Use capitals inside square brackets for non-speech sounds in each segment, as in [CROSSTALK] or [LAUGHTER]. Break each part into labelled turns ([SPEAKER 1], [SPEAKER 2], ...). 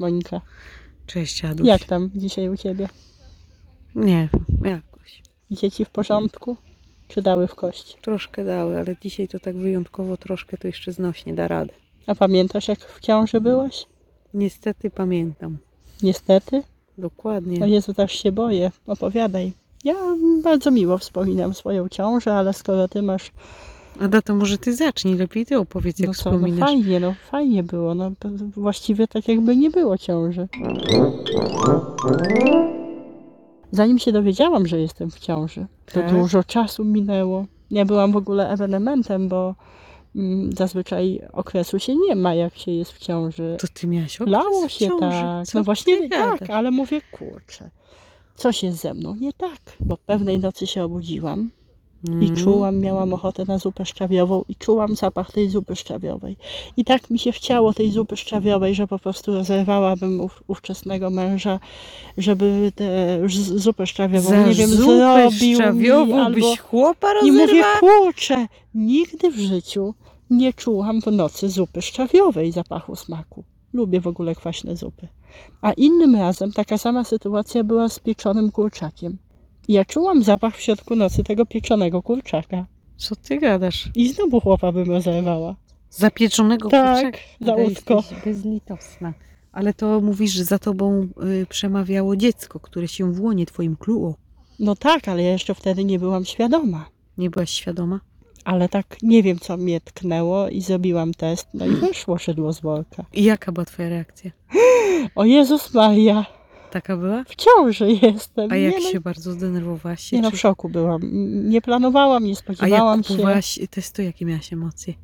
[SPEAKER 1] Monika.
[SPEAKER 2] Cześć, Aduś.
[SPEAKER 1] Jak tam dzisiaj u Ciebie?
[SPEAKER 2] Nie, jakoś.
[SPEAKER 1] Dzieci w porządku? Czy dały w kość?
[SPEAKER 2] Troszkę dały, ale dzisiaj to tak wyjątkowo troszkę to jeszcze znośnie da radę.
[SPEAKER 1] A pamiętasz jak w ciąży byłaś?
[SPEAKER 2] Niestety pamiętam.
[SPEAKER 1] Niestety?
[SPEAKER 2] Dokładnie.
[SPEAKER 1] O Jezu, też się boję. Opowiadaj. Ja bardzo miło wspominam swoją ciążę, ale skoro Ty masz...
[SPEAKER 2] Ada, to może ty zacznij, lepiej ty opowiedz, jak
[SPEAKER 1] no co, no
[SPEAKER 2] wspominasz.
[SPEAKER 1] fajnie, no fajnie było. No, p- właściwie tak jakby nie było ciąży. Zanim się dowiedziałam, że jestem w ciąży, to
[SPEAKER 2] Tak.
[SPEAKER 1] dużo czasu minęło. Ja byłam w ogóle ewenementem, bo mm, zazwyczaj okresu się nie ma, jak się jest w ciąży.
[SPEAKER 2] to ty miałaś okres
[SPEAKER 1] Lało
[SPEAKER 2] w
[SPEAKER 1] się
[SPEAKER 2] ciąży?
[SPEAKER 1] tak.
[SPEAKER 2] Co
[SPEAKER 1] No
[SPEAKER 2] ty
[SPEAKER 1] właśnie
[SPEAKER 2] gadasz?
[SPEAKER 1] tak, ale mówię, kurczę, coś jest ze mną nie tak, bo pewnej nocy się obudziłam i
[SPEAKER 2] Mm.
[SPEAKER 1] czułam, miałam ochotę na zupę szczawiową i czułam zapach tej zupy szczawiowej. I tak mi się chciało tej zupy szczawiowej, że po prostu rozerwałabym ów, ówczesnego męża, żeby tę ż- zupę szczawiową,
[SPEAKER 2] Za
[SPEAKER 1] nie wiem,
[SPEAKER 2] zupę
[SPEAKER 1] zrobił mi,
[SPEAKER 2] szczawiową
[SPEAKER 1] albo...
[SPEAKER 2] byś chłopa
[SPEAKER 1] I
[SPEAKER 2] rozerwała?
[SPEAKER 1] mówię, kurczę, nigdy w życiu nie czułam w nocy zupy szczawiowej zapachu smaku. Lubię w ogóle kwaśne zupy. A innym razem taka sama sytuacja była z pieczonym kurczakiem. Ja czułam zapach w środku nocy tego pieczonego kurczaka.
[SPEAKER 2] Co ty gadasz?
[SPEAKER 1] I znowu chłopa bym rozerwała.
[SPEAKER 2] Zapieczonego
[SPEAKER 1] Tak,
[SPEAKER 2] kurczaka?
[SPEAKER 1] za
[SPEAKER 2] Ada,
[SPEAKER 1] łódko.
[SPEAKER 2] jesteś bezlitosna. Ale to mówisz, że za tobą y, przemawiało dziecko, które się w łonie twoim kluło.
[SPEAKER 1] No tak, ale ja jeszcze wtedy nie byłam świadoma.
[SPEAKER 2] Nie byłaś świadoma?
[SPEAKER 1] Ale tak nie wiem, co mnie tknęło i zrobiłam test, no i wyszło szydło z worka.
[SPEAKER 2] I jaka była twoja reakcja?
[SPEAKER 1] O Jezus Maria,
[SPEAKER 2] Taka była?
[SPEAKER 1] w ciąży jestem.
[SPEAKER 2] A jak
[SPEAKER 1] nie no,
[SPEAKER 2] się bardzo zdenerwowałaś? Się,
[SPEAKER 1] Nie no, w
[SPEAKER 2] czy-
[SPEAKER 1] szoku byłam. Nie planowałam, nie
[SPEAKER 2] A jak
[SPEAKER 1] spodziewałam się.
[SPEAKER 2] kupowałaś testy, jakie miałaś emocje?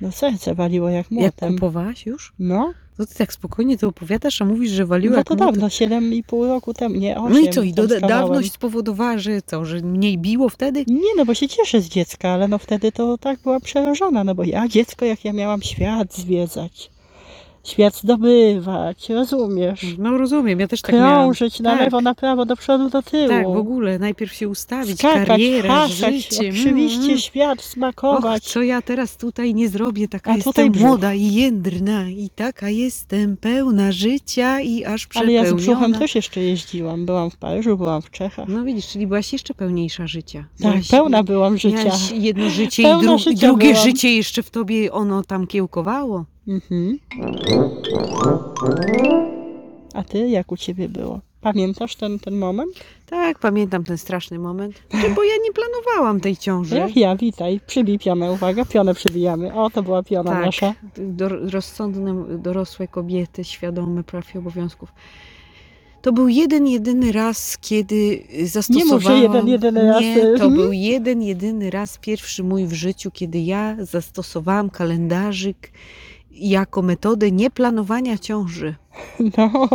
[SPEAKER 1] No serce waliło jak
[SPEAKER 2] Jak
[SPEAKER 1] młotem.
[SPEAKER 2] kupowałaś już?
[SPEAKER 1] No,
[SPEAKER 2] No ty tak spokojnie to opowiadasz, a mówisz, że waliło
[SPEAKER 1] no
[SPEAKER 2] jak
[SPEAKER 1] to
[SPEAKER 2] młot.
[SPEAKER 1] dawno, 7,5 roku temu, nie, 8.
[SPEAKER 2] No i co, i
[SPEAKER 1] tam
[SPEAKER 2] doda-
[SPEAKER 1] z kawałem.
[SPEAKER 2] dawność spowodowała, że co, że mniej biło wtedy?
[SPEAKER 1] Nie, no bo się cieszę z dziecka, ale no wtedy to tak byłam przerażona, no bo ja dziecko, jak ja miałam świat zwiedzać, świat zdobywać, rozumiesz?
[SPEAKER 2] No rozumiem, ja też tak miałam.
[SPEAKER 1] Krążyć na
[SPEAKER 2] Tak.
[SPEAKER 1] lewo, na prawo, do przodu, do tyłu.
[SPEAKER 2] Tak, w ogóle, najpierw się ustawić,
[SPEAKER 1] Skakać,
[SPEAKER 2] karierę,
[SPEAKER 1] hasać,
[SPEAKER 2] życie. mm, Mhm.
[SPEAKER 1] oczywiście świat
[SPEAKER 2] Och,
[SPEAKER 1] smakować.
[SPEAKER 2] co ja teraz tutaj nie zrobię, taka
[SPEAKER 1] A
[SPEAKER 2] jestem
[SPEAKER 1] tutaj brzuch.
[SPEAKER 2] młoda i jędrna i taka jestem pełna życia i aż
[SPEAKER 1] ale
[SPEAKER 2] przepełniona.
[SPEAKER 1] ja z brzuchem też jeszcze jeździłam, byłam w Paryżu, byłam w Czechach.
[SPEAKER 2] No widzisz, czyli byłaś jeszcze pełniejsza życia.
[SPEAKER 1] Tak,
[SPEAKER 2] Byłaś-
[SPEAKER 1] pełna byłam życia.
[SPEAKER 2] Miałaś jedno życie i,
[SPEAKER 1] Pełna
[SPEAKER 2] dru- i
[SPEAKER 1] życia
[SPEAKER 2] drugie
[SPEAKER 1] byłam.
[SPEAKER 2] życie jeszcze w tobie ono tam kiełkowało.
[SPEAKER 1] Mhm. A ty, jak u ciebie było? Pamiętasz ten, ten moment?
[SPEAKER 2] Tak, pamiętam ten straszny moment. Znaczy, bo ja nie planowałam tej ciąży.
[SPEAKER 1] Jak Tak. ja, witaj. Przybij pionę, uwaga, pionę przybijamy. O, to była piona
[SPEAKER 2] Tak.
[SPEAKER 1] nasza.
[SPEAKER 2] do, rozsądne, dorosłe kobiety, świadome praw i obowiązków. To był jeden, jedyny raz, kiedy zastosowałam...
[SPEAKER 1] jeden, jedyny raz,
[SPEAKER 2] Nie, to
[SPEAKER 1] mhm.
[SPEAKER 2] był jeden, jedyny raz, pierwszy mój w życiu, kiedy ja zastosowałam kalendarzyk jako metodę nieplanowania ciąży.
[SPEAKER 1] No,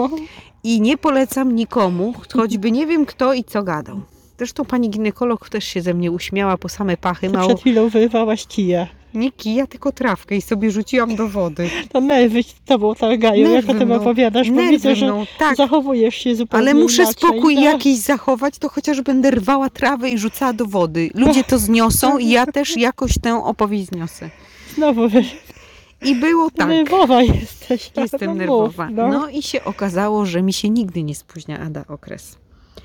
[SPEAKER 2] I nie polecam nikomu, choćby nie wiem kto i co gadał. Zresztą pani ginekolog też się ze mnie uśmiała po same pachy.
[SPEAKER 1] to
[SPEAKER 2] Mało
[SPEAKER 1] przed chwilą wyrywałaś kija.
[SPEAKER 2] nie kija, tylko trawkę i sobie rzuciłam do wody.
[SPEAKER 1] To nerwy z tobą targają, jak
[SPEAKER 2] Nerwy
[SPEAKER 1] o tym
[SPEAKER 2] mną-
[SPEAKER 1] opowiadasz, bo widzę,
[SPEAKER 2] Nerwy
[SPEAKER 1] że
[SPEAKER 2] mną, tak.
[SPEAKER 1] zachowujesz się zupełnie
[SPEAKER 2] Ale muszę
[SPEAKER 1] inaczej.
[SPEAKER 2] spokój
[SPEAKER 1] tak.
[SPEAKER 2] jakiś zachować, to chociaż będę rwała trawę i rzucała do wody. Ludzie to zniosą i ja też jakoś tę opowieść zniosę.
[SPEAKER 1] Znowu wy-
[SPEAKER 2] I było tak.
[SPEAKER 1] nerwowa jesteś.
[SPEAKER 2] Jestem
[SPEAKER 1] no,
[SPEAKER 2] nerwowa.
[SPEAKER 1] Mów, no.
[SPEAKER 2] No i się okazało, że mi się nigdy nie spóźnia Ada okres.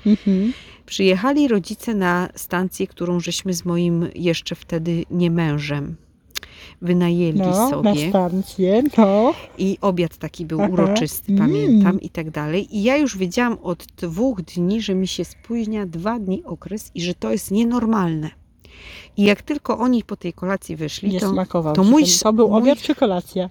[SPEAKER 1] Mhm.
[SPEAKER 2] Przyjechali rodzice na stację, którą żeśmy z moim jeszcze wtedy nie mężem wynajęli
[SPEAKER 1] no na
[SPEAKER 2] sobie.
[SPEAKER 1] stancję, no.
[SPEAKER 2] I obiad taki był
[SPEAKER 1] Aha.
[SPEAKER 2] uroczysty,
[SPEAKER 1] Mm.
[SPEAKER 2] pamiętam, i tak dalej. I ja już wiedziałam od dwóch dni, że mi się spóźnia dwa dni okres i że to jest nienormalne. I jak tylko oni po tej kolacji wyszli,
[SPEAKER 1] Nie
[SPEAKER 2] to,
[SPEAKER 1] smakował
[SPEAKER 2] to
[SPEAKER 1] ci
[SPEAKER 2] mój
[SPEAKER 1] ten-
[SPEAKER 2] s-
[SPEAKER 1] to był
[SPEAKER 2] mój-
[SPEAKER 1] obiad czy kolacja?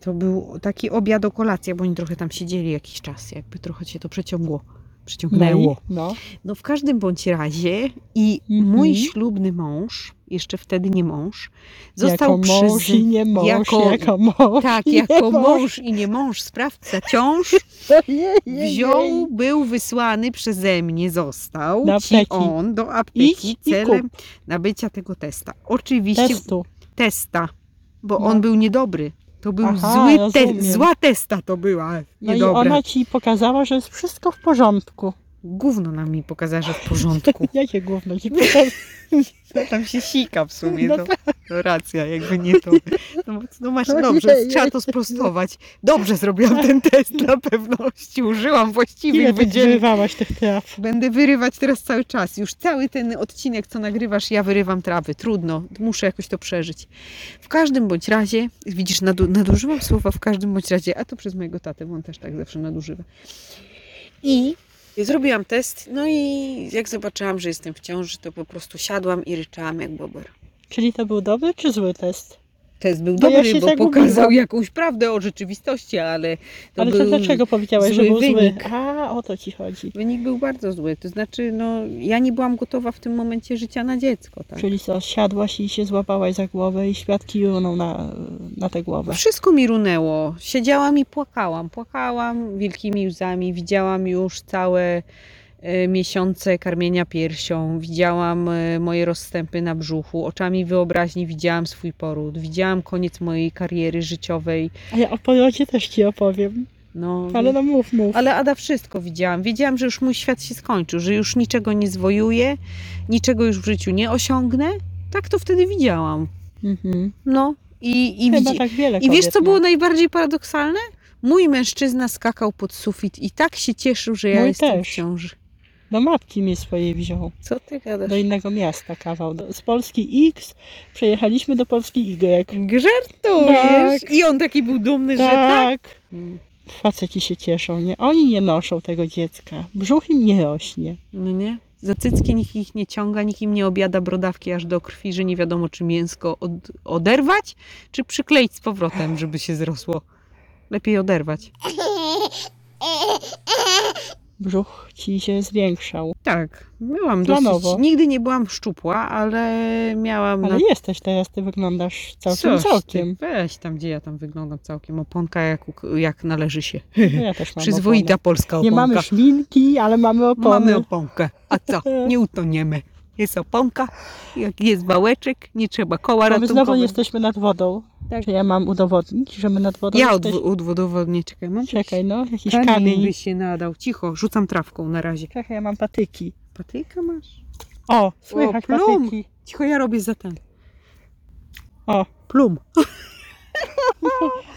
[SPEAKER 2] to był taki obiad o kolacja, bo oni trochę tam siedzieli jakiś czas, jakby trochę się to przeciągło, przeciągnęło.
[SPEAKER 1] No, i- no.
[SPEAKER 2] No w każdym bądź razie i
[SPEAKER 1] Mhm.
[SPEAKER 2] mój ślubny mąż, jeszcze wtedy nie mąż, został
[SPEAKER 1] jako mąż
[SPEAKER 2] przyzy...
[SPEAKER 1] i nie mąż,
[SPEAKER 2] jako-
[SPEAKER 1] jako, mąż
[SPEAKER 2] Tak,
[SPEAKER 1] i [LAUGHS] nie
[SPEAKER 2] jako
[SPEAKER 1] mąż.
[SPEAKER 2] mąż i nie mąż, sprawca ciąż,
[SPEAKER 1] Jej, jej, jej.
[SPEAKER 2] Wziął, był wysłany przeze mnie, został
[SPEAKER 1] Do
[SPEAKER 2] ci
[SPEAKER 1] apteki.
[SPEAKER 2] on do apteki
[SPEAKER 1] Idź i
[SPEAKER 2] celem nabycia tego testa. Oczywiście
[SPEAKER 1] testu.
[SPEAKER 2] testa, bo
[SPEAKER 1] No.
[SPEAKER 2] on był niedobry. To był
[SPEAKER 1] Aha,
[SPEAKER 2] zły te,
[SPEAKER 1] rozumiem.
[SPEAKER 2] zła testa to była
[SPEAKER 1] No i [LAUGHS]
[SPEAKER 2] niedobra.
[SPEAKER 1] ona ci pokazała, że jest wszystko w porządku.
[SPEAKER 2] gówno nam mi pokazała, że w porządku.
[SPEAKER 1] Jakie [LAUGHS] gówno ci pokazać?
[SPEAKER 2] [LAUGHS] Tam się sika w sumie,
[SPEAKER 1] No
[SPEAKER 2] to, to racja, jakby nie to. tak. No, no masz,
[SPEAKER 1] Ojej.
[SPEAKER 2] dobrze, trzeba to sprostować. Dobrze zrobiłam ten test dla pewności, użyłam
[SPEAKER 1] Ile
[SPEAKER 2] właściwych
[SPEAKER 1] ty
[SPEAKER 2] wydzieleń.
[SPEAKER 1] wyrywałaś tych traw?
[SPEAKER 2] Będę wyrywać teraz cały czas. Już cały ten odcinek, co nagrywasz, ja wyrywam trawy. Trudno, muszę jakoś to przeżyć. W każdym bądź razie, widzisz, nadu- nadużywam słowa w każdym bądź razie, a to przez mojego tatę, bo on też tak zawsze nadużywa. I zrobiłam test, no i jak zobaczyłam, że jestem w ciąży, to po prostu siadłam i ryczałam jak bober.
[SPEAKER 1] Czyli to był dobry czy zły test?
[SPEAKER 2] Test był
[SPEAKER 1] Bo No ja
[SPEAKER 2] dobry,
[SPEAKER 1] się tak
[SPEAKER 2] bo
[SPEAKER 1] zagubiłam.
[SPEAKER 2] pokazał jakąś prawdę o rzeczywistości, ale to
[SPEAKER 1] Ale to
[SPEAKER 2] był...
[SPEAKER 1] dlaczego powiedziałaś, że
[SPEAKER 2] zły
[SPEAKER 1] był
[SPEAKER 2] wynik.
[SPEAKER 1] zły? A, o to ci chodzi.
[SPEAKER 2] Wynik był bardzo zły, to znaczy, no, ja nie byłam gotowa w tym momencie życia na dziecko, tak?
[SPEAKER 1] Czyli co, siadłaś i się złapałaś za głowę i świat kijunął na, na tę głowę.
[SPEAKER 2] Wszystko mi runęło. Siedziałam i płakałam. Płakałam wielkimi łzami. Widziałam już całe e, miesiące karmienia piersią. Widziałam e, moje rozstępy na brzuchu. Oczami wyobraźni widziałam swój poród. Widziałam koniec mojej kariery życiowej.
[SPEAKER 1] A ja o porodzie też ci opowiem.
[SPEAKER 2] No,
[SPEAKER 1] Ale no mów, mów.
[SPEAKER 2] ale Ada wszystko widziałam. Wiedziałam, że już mój świat się skończył, że już niczego nie zwojuję, niczego już w życiu nie osiągnę. Tak to wtedy widziałam.
[SPEAKER 1] Mhm.
[SPEAKER 2] No i, i
[SPEAKER 1] Chyba
[SPEAKER 2] widzi-
[SPEAKER 1] tak wiele
[SPEAKER 2] I wiesz,
[SPEAKER 1] kobiet
[SPEAKER 2] co
[SPEAKER 1] ma.
[SPEAKER 2] było najbardziej paradoksalne? Mój mężczyzna skakał pod sufit i tak się cieszył, że ja
[SPEAKER 1] Mój
[SPEAKER 2] jestem
[SPEAKER 1] też.
[SPEAKER 2] w ciąży.
[SPEAKER 1] Do matki mnie swojej wziął.
[SPEAKER 2] Co ty gadasz?
[SPEAKER 1] Do innego miasta kawał. Do, z Polski X przejechaliśmy do Polski Y.
[SPEAKER 2] Żartujesz? I on taki był dumny, że tak.
[SPEAKER 1] Tak. Faceci się cieszą, nie? Oni nie noszą tego dziecka. Brzuch im nie rośnie.
[SPEAKER 2] No nie? Za cycki nikt ich nie ciąga, nikt im nie objada brodawki aż do krwi, że nie wiadomo, czy mięsko od, oderwać, czy przykleić z powrotem, żeby się zrosło. Lepiej oderwać.
[SPEAKER 1] Brzuch ci się zwiększał.
[SPEAKER 2] Tak, byłam
[SPEAKER 1] Planowo.
[SPEAKER 2] dosyć... Nigdy nie byłam szczupła, ale miałam na
[SPEAKER 1] Ale jesteś teraz, ty wyglądasz całkiem
[SPEAKER 2] No. Coś ty,
[SPEAKER 1] całkiem.
[SPEAKER 2] Weź tam, gdzie ja tam wyglądam całkiem. Oponka jak, u- jak należy się.
[SPEAKER 1] No ja też mam
[SPEAKER 2] Przyzwoita polska
[SPEAKER 1] opony. Nie
[SPEAKER 2] oponka.
[SPEAKER 1] mamy szminki, ale mamy opony.
[SPEAKER 2] Mamy oponkę. A co?
[SPEAKER 1] [LAUGHS]
[SPEAKER 2] Nie utoniemy. Jest oponka, jak jest wałeczek, nie trzeba
[SPEAKER 1] Bo
[SPEAKER 2] koła
[SPEAKER 1] my znowu
[SPEAKER 2] ratunkowego.
[SPEAKER 1] jesteśmy nad wodą. Tak. Czy ja mam udowodnić, że my nad wodą
[SPEAKER 2] Ja
[SPEAKER 1] jesteśmy?
[SPEAKER 2] odw- udowodnię, czekaj, mam jakiś
[SPEAKER 1] Czekaj, no, jakiś
[SPEAKER 2] kamień
[SPEAKER 1] kamień.
[SPEAKER 2] by się nadał. Cicho, rzucam trawką na razie.
[SPEAKER 1] Czekaj, ja mam patyki.
[SPEAKER 2] Patyka masz?
[SPEAKER 1] O, słychać
[SPEAKER 2] plum.
[SPEAKER 1] patyki.
[SPEAKER 2] Cicho, ja robię za ten.
[SPEAKER 1] O.
[SPEAKER 2] Plum.